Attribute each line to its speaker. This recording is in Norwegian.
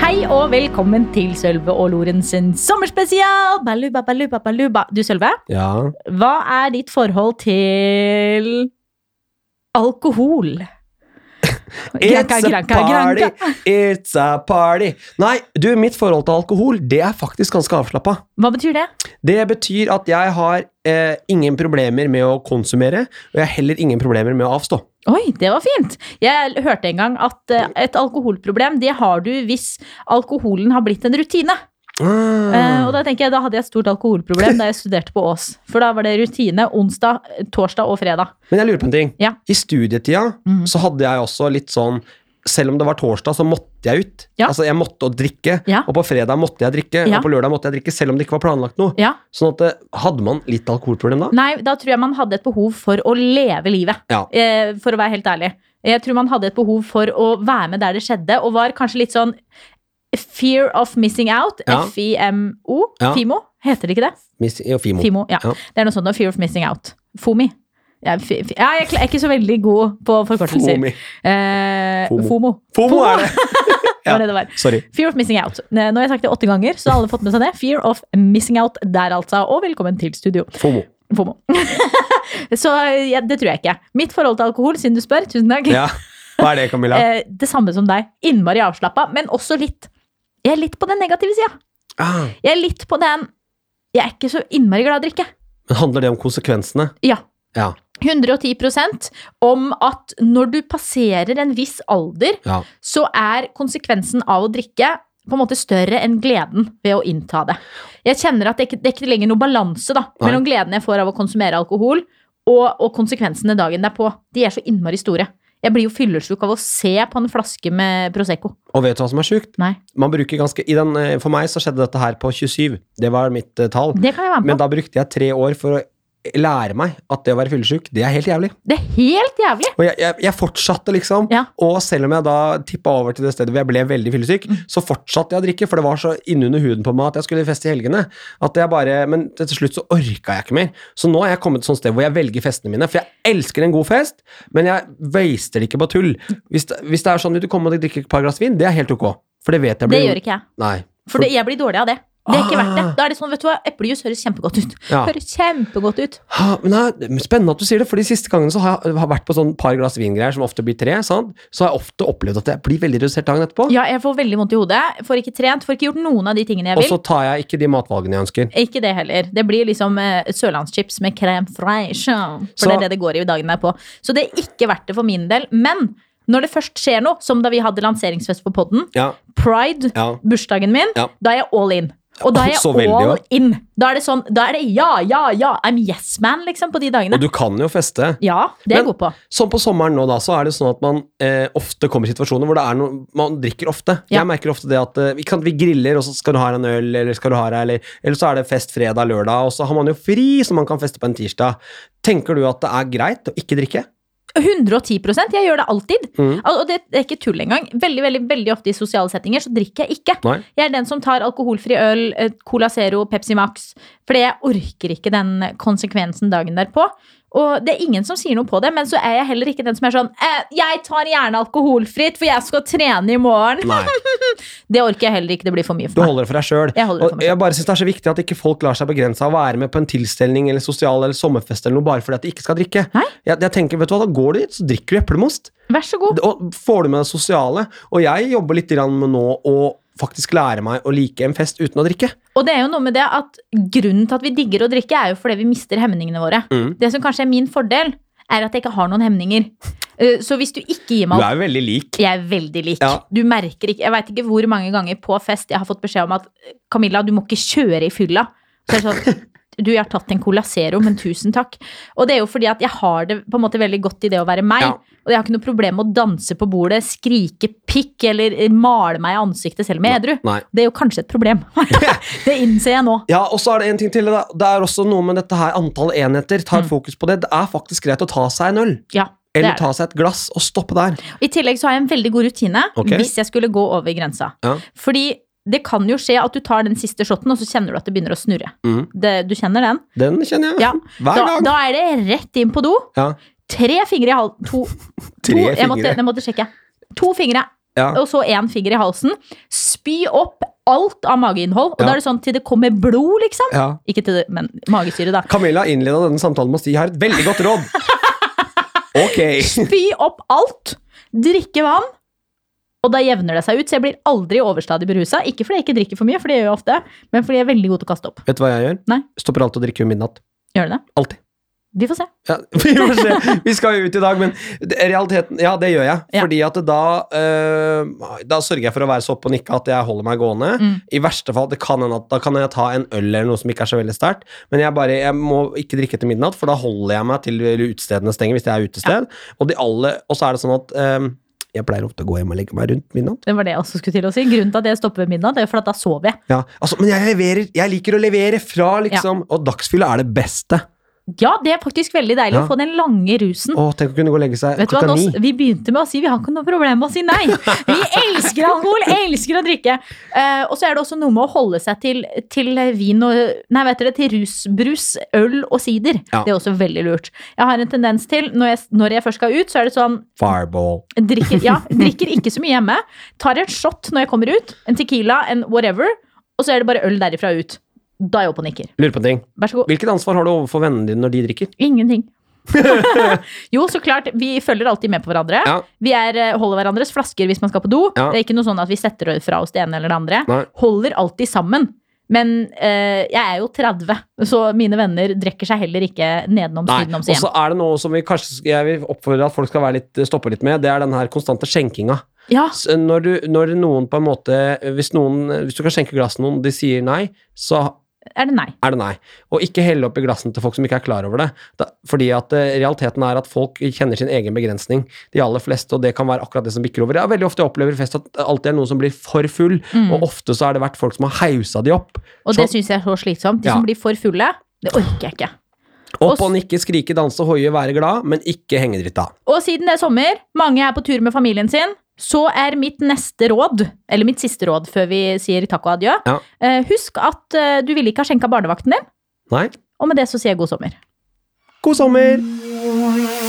Speaker 1: Hei og velkommen til Sølve og Loren sin sommerspesial! Baluba, baluba, baluba. Du, Sølve,
Speaker 2: Ja.
Speaker 1: hva er ditt forhold til alkohol? Granka, granka,
Speaker 2: party!
Speaker 1: granka.
Speaker 2: It's a party! Nei, du, mitt forhold til alkohol, det er faktisk ganske avslappa.
Speaker 1: Hva betyr det?
Speaker 2: Det betyr at jeg har eh, ingen problemer med å konsumere, og jeg har heller ingen problemer med å avstå.
Speaker 1: Oi, det var fint. Jeg hørte en gang at eh, et alkoholproblem det har du hvis alkoholen har blitt en rutine.
Speaker 2: Ah.
Speaker 1: Eh, og da tenker jeg, da hadde jeg et stort alkoholproblem da jeg studerte på Ås. For da var det rutine onsdag, torsdag og fredag.
Speaker 2: Men jeg lurer på en ting.
Speaker 1: Ja.
Speaker 2: I studietida
Speaker 1: Mhm.
Speaker 2: så hadde jeg også litt sånn selv om det var torsdag, så måtte jeg ut.
Speaker 1: Ja.
Speaker 2: Altså, Jeg måtte å drikke,
Speaker 1: Ja.
Speaker 2: og på fredag måtte jeg drikke,
Speaker 1: Ja.
Speaker 2: og på lørdag måtte jeg drikke, selv om det ikke var planlagt noe.
Speaker 1: Ja.
Speaker 2: Sånn at eh, Hadde man litt alkoholproblem da?
Speaker 1: Nei, da tror jeg man hadde et behov for å leve livet.
Speaker 2: Ja.
Speaker 1: Eh, for å være helt ærlig. Jeg tror man hadde et behov for å være med der det skjedde, og var kanskje litt sånn Fear of missing out.
Speaker 2: Ja.
Speaker 1: F-I-M-O.
Speaker 2: Ja.
Speaker 1: FIMO, heter det ikke det?
Speaker 2: Miss- og Fimo.
Speaker 1: FIMO, ja.
Speaker 2: Ja.
Speaker 1: Det er noe sånt noe Fear of Missing Out. FOMI. Ja, fi, fi, ja, jeg er ikke så veldig god på forkortelser.
Speaker 2: Fomi.
Speaker 1: Eh,
Speaker 2: FOMO.
Speaker 1: FOMO.
Speaker 2: Fomo er det!
Speaker 1: Det var det det var.
Speaker 2: Sorry.
Speaker 1: Fear of Missing Out. Eh, Nå har jeg sagt det åtte ganger, så alle har fått med seg det. Fear of Missing Out der, altså. Og velkommen til studio.
Speaker 2: Fomo.
Speaker 1: FOMO. så eh, ja, det tror jeg ikke. Mitt forhold til alkohol, siden du spør. Tusen takk.
Speaker 2: Ja. Hva er det, Camilla?
Speaker 1: Eh, det samme som deg. Innmari avslappa, men også litt Jeg er litt på den negative sida.
Speaker 2: Ah,
Speaker 1: Jeg er litt på den Jeg er ikke så innmari glad i å drikke.
Speaker 2: men handler det om konsekvensene?
Speaker 1: Ja.
Speaker 2: Ja.
Speaker 1: 110 om at når du passerer en viss alder,
Speaker 2: Ja.
Speaker 1: så er konsekvensen av å drikke på en måte større enn gleden ved å innta det. Jeg kjenner at det ikke, det er ikke lenger noe balanse da,
Speaker 2: Nei.
Speaker 1: mellom gleden jeg får av å konsumere alkohol, og, og konsekvensene dagen derpå. De er så innmari store. Jeg blir jo fyllesyk av å se på en flaske med Prosecco.
Speaker 2: Og vet du hva som er sjukt?
Speaker 1: Nei,
Speaker 2: Man bruker ganske, i den, eh, for meg så skjedde dette her på 27. Det var mitt eh, tall.
Speaker 1: det kan jeg være med
Speaker 2: Men
Speaker 1: på.
Speaker 2: da brukte jeg tre år for å lære meg at det å være fyllesyk, det er helt jævlig.
Speaker 1: Det er helt jævlig!
Speaker 2: Og jeg, jeg, jeg fortsatte, liksom.
Speaker 1: Ja.
Speaker 2: Og selv om jeg da tippa over til det stedet hvor jeg ble veldig fyllesyk,
Speaker 1: Mm.
Speaker 2: så fortsatte jeg å drikke, for det var så innunder huden på meg at jeg skulle feste i helgene. At jeg bare, Men til slutt så orka jeg ikke mer. Så nå er jeg kommet til et sånt sted hvor jeg velger festene mine. For jeg elsker en god fest, men jeg waster det ikke på tull. Hvis det, hvis det er sånn vil du komme og drikke et par glass vin, det er helt ok. For det vet
Speaker 1: Det
Speaker 2: jeg blir
Speaker 1: gjør ikke jeg.
Speaker 2: Nei.
Speaker 1: For det, jeg blir dårlig av det. Det er ikke verdt det.
Speaker 2: Ah.
Speaker 1: Da er det sånn, vet du hva, Eplejus høres kjempegodt ut.
Speaker 2: Ja.
Speaker 1: Høres kjempegodt ut.
Speaker 2: Ha, men det er spennende at du sier det, for de siste gangene så har jeg har vært på sånn par glass vingreier, som ofte blir tre, sant? så har jeg ofte opplevd at jeg blir veldig redusert dagen etterpå.
Speaker 1: Ja, jeg får veldig vondt i hodet. Får ikke trent, får ikke gjort noen av de tingene jeg
Speaker 2: Og
Speaker 1: vil.
Speaker 2: så tar jeg ikke de matvalgene jeg ønsker.
Speaker 1: Ikke det heller. Det blir liksom eh, sørlandschips med crème fraîche. For
Speaker 2: Så-
Speaker 1: det er det det går i dagen derpå. Så det er ikke verdt det for min del. Men når det først skjer noe, som da vi hadde lanseringsfest på podden,
Speaker 2: Ja,
Speaker 1: pride,
Speaker 2: ja.
Speaker 1: bursdagen min,
Speaker 2: Ja.
Speaker 1: da er jeg all in. Og da er jeg
Speaker 2: Så veldig,
Speaker 1: all
Speaker 2: ja.
Speaker 1: in. Da er det sånn, da er det ja, ja, ja. I'm yes man, liksom, på de dagene.
Speaker 2: Og du kan jo feste.
Speaker 1: Ja, det er jeg
Speaker 2: Men-
Speaker 1: god på.
Speaker 2: Sånn på sommeren nå, da, så er det sånn at man eh, ofte kommer i situasjoner hvor det er noe Man drikker ofte.
Speaker 1: Ja.
Speaker 2: Jeg merker ofte det at eh, ikke sant, vi griller, og så skal du ha deg en øl, eller skal du ha deg eller, eller så er det fest fredag, lørdag, og så har man jo fri, så man kan feste på en tirsdag. Tenker du at det er greit å ikke drikke?
Speaker 1: 110 Jeg gjør det alltid.
Speaker 2: Mm.
Speaker 1: Al- Og det er ikke tull engang. Veldig veldig, veldig ofte i sosiale settinger så drikker jeg ikke.
Speaker 2: Nei.
Speaker 1: Jeg er den som tar alkoholfri øl, eh, Cola Zero, Pepsi Max. Fordi jeg orker ikke den konsekvensen dagen derpå. Og det er ingen som sier noe på det, men så er jeg heller ikke den som er sånn eh, Jeg tar gjerne alkoholfritt, for jeg skal trene i morgen.
Speaker 2: Nei.
Speaker 1: Det orker jeg heller ikke. Det blir for mye
Speaker 2: Du
Speaker 1: for meg.
Speaker 2: holder det for deg sjøl.
Speaker 1: Jeg holder det for
Speaker 2: Og
Speaker 1: meg selv.
Speaker 2: jeg bare synes det er så viktig at ikke folk lar seg begrense av å være med på en tilstelning eller sosial eller sommerfest eller noe bare fordi at de ikke skal drikke.
Speaker 1: Nei.
Speaker 2: Jeg, jeg tenker, vet du hva, Da går du dit, så drikker du eplemost.
Speaker 1: Vær så god.
Speaker 2: Og får du med det sosiale. Og jeg jobber litt grann med nå å faktisk lære meg å like en fest uten å drikke.
Speaker 1: Og det er jo noe med det at grunnen til at vi digger å drikke, er jo fordi vi mister hemningene våre.
Speaker 2: Mm.
Speaker 1: Det som kanskje er min fordel, er at jeg ikke har noen hemninger. Eh, Så hvis du ikke gir
Speaker 2: Du
Speaker 1: meg
Speaker 2: er jo veldig lik.
Speaker 1: Jeg er veldig lik.
Speaker 2: Ja.
Speaker 1: Du merker ikke, Jeg veit ikke hvor mange ganger på fest jeg har fått beskjed om at Camilla, du må ikke kjøre i fylla. Så jeg er sånn, du, jeg har tatt en Cola Zero, men tusen takk. Og det er jo fordi at jeg har det på en måte veldig godt i det å være meg.
Speaker 2: Ja.
Speaker 1: Og jeg har ikke noe problem med å danse på bordet, skrike pikk eller eh, male meg i ansiktet selv om jeg er edru.
Speaker 2: Nei.
Speaker 1: Det er jo kanskje et problem. det innser jeg nå.
Speaker 2: Ja, og så er det en ting til. da. Det er også noe med dette her antall enheter. Tar
Speaker 1: Mm.
Speaker 2: fokus på det. Det er faktisk greit å ta seg en øl.
Speaker 1: Ja, det
Speaker 2: Eller
Speaker 1: er det.
Speaker 2: ta seg et glass og stoppe der.
Speaker 1: I tillegg så har jeg en veldig god rutine
Speaker 2: Ok.
Speaker 1: hvis jeg skulle gå over grensa.
Speaker 2: Ja.
Speaker 1: Fordi det kan jo skje at du tar den siste shotten, og så kjenner du at det begynner å snurre.
Speaker 2: Mm.
Speaker 1: Det, du kjenner den?
Speaker 2: Den kjenner jeg.
Speaker 1: Ja.
Speaker 2: Hver
Speaker 1: Da,
Speaker 2: dag.
Speaker 1: da er det rett inn på do.
Speaker 2: Ja.
Speaker 1: Tre fingre i halsen. To. to
Speaker 2: Tre
Speaker 1: jeg, måtte,
Speaker 2: fingre.
Speaker 1: jeg måtte sjekke. To fingre,
Speaker 2: Ja.
Speaker 1: og så én finger i halsen. Spy opp alt av mageinnhold. Og
Speaker 2: Ja.
Speaker 1: da er det sånn til det kommer blod, liksom.
Speaker 2: Ja.
Speaker 1: Ikke til det, men magesyre, da.
Speaker 2: Camilla innleda denne samtalen med å si jeg har et veldig godt råd. Ok.
Speaker 1: Spy opp alt. Drikke vann. Og da jevner det seg ut, så jeg blir aldri overstadig berusa. Ikke fordi jeg ikke drikker for mye, for det gjør jeg ofte, men fordi jeg er veldig god til å kaste opp.
Speaker 2: Vet du hva jeg gjør?
Speaker 1: Nei.
Speaker 2: Stopper alltid å drikke ved midnatt.
Speaker 1: Gjør du det?
Speaker 2: Alltid.
Speaker 1: Vi får se.
Speaker 2: Ja, vi, får se. vi skal jo ut i dag, men det- realiteten Ja, det gjør jeg.
Speaker 1: Ja.
Speaker 2: Fordi at da eh, Da sørger jeg for å være så oppe og nikke at jeg holder meg gående.
Speaker 1: Mm.
Speaker 2: I verste fall, det kan hende at da kan jeg ta en øl eller noe som ikke er så veldig sterkt. Men jeg bare, jeg må ikke drikke til midnatt, for da holder jeg meg til utestedene stenger hvis det er utested. Og, de alle, og så er det sånn at eh, jeg pleier ofte å gå hjem og legge meg rundt midnatt.
Speaker 1: Det var det jeg også skulle til å si. Grunnen til at jeg stopper ved midnatt, det er for at da sover jeg.
Speaker 2: Ja, altså, men jeg leverer, jeg liker å levere fra, liksom. Og dagsfylla er det beste.
Speaker 1: Ja, det er faktisk veldig deilig
Speaker 2: Ja.
Speaker 1: å få den lange rusen.
Speaker 2: Å, tenk å kunne gå og legge seg
Speaker 1: Vet du hva,
Speaker 2: klokka
Speaker 1: nå,
Speaker 2: ni.
Speaker 1: Vi begynte med å si vi har ikke noe problem med å si nei. Vi elsker alkohol, elsker å drikke. Eh, og så er det også noe med å holde seg til, til vin og Nei, vet dere, til rusbrus, øl og sider.
Speaker 2: Ja.
Speaker 1: Det er også veldig lurt. Jeg har en tendens til, når jeg, når jeg først skal ut, så er det sånn
Speaker 2: Fireball.
Speaker 1: drikker, ja, drikker ikke så mye hjemme. Tar en shot når jeg kommer ut. En Tequila, en whatever. Og så er det bare øl derifra ut. Da er jeg oppe og nikker.
Speaker 2: Lurer på en ting.
Speaker 1: Vær så god.
Speaker 2: Hvilket ansvar har du overfor vennene dine når de drikker?
Speaker 1: Ingenting. jo, så klart. Vi følger alltid med på hverandre.
Speaker 2: Ja.
Speaker 1: Vi er, eh, holder hverandres flasker hvis man skal på do.
Speaker 2: Ja.
Speaker 1: Det er ikke noe sånn at vi setter fra oss det ene eller det andre.
Speaker 2: Nei.
Speaker 1: Holder alltid sammen. Men eh, jeg er jo 30, så mine venner drikker seg heller ikke nedenoms
Speaker 2: Nei,
Speaker 1: sydenoms
Speaker 2: og så
Speaker 1: igjen.
Speaker 2: er det noe som vi kanskje sk- jeg vil oppfordre at folk skal være litt, stoppe litt med, det er den her konstante skjenkinga.
Speaker 1: Ja,
Speaker 2: S- Når, du, når noen på en måte hvis, noen, hvis du kan skjenke glass til noen, de sier nei, så
Speaker 1: er det nei?
Speaker 2: er det nei. Og ikke helle oppi glassene til folk som ikke er klar over det. Da, fordi at eh, realiteten er at folk kjenner sin egen begrensning, de aller fleste, og det kan være akkurat det som bikker over. Jeg har veldig ofte opplever i fest at det alltid er noen som blir for full,
Speaker 1: Mm.
Speaker 2: og ofte så har det vært folk som har hausa de opp.
Speaker 1: Og det syns jeg er så slitsomt. De
Speaker 2: Ja.
Speaker 1: som blir for fulle, det orker jeg ikke. Og
Speaker 2: Opp
Speaker 1: s-
Speaker 2: og nikke, skrike, danse, hoie, være glad, men ikke henge dritt av.
Speaker 1: Og siden det er sommer, mange er på tur med familien sin, så er mitt neste råd, eller mitt siste råd før vi sier takk og adjø,
Speaker 2: Ja.
Speaker 1: eh, husk at eh, du ville ikke ha skjenka barnevakten din,
Speaker 2: Nei.
Speaker 1: og med det så sier jeg god sommer.
Speaker 2: God sommer!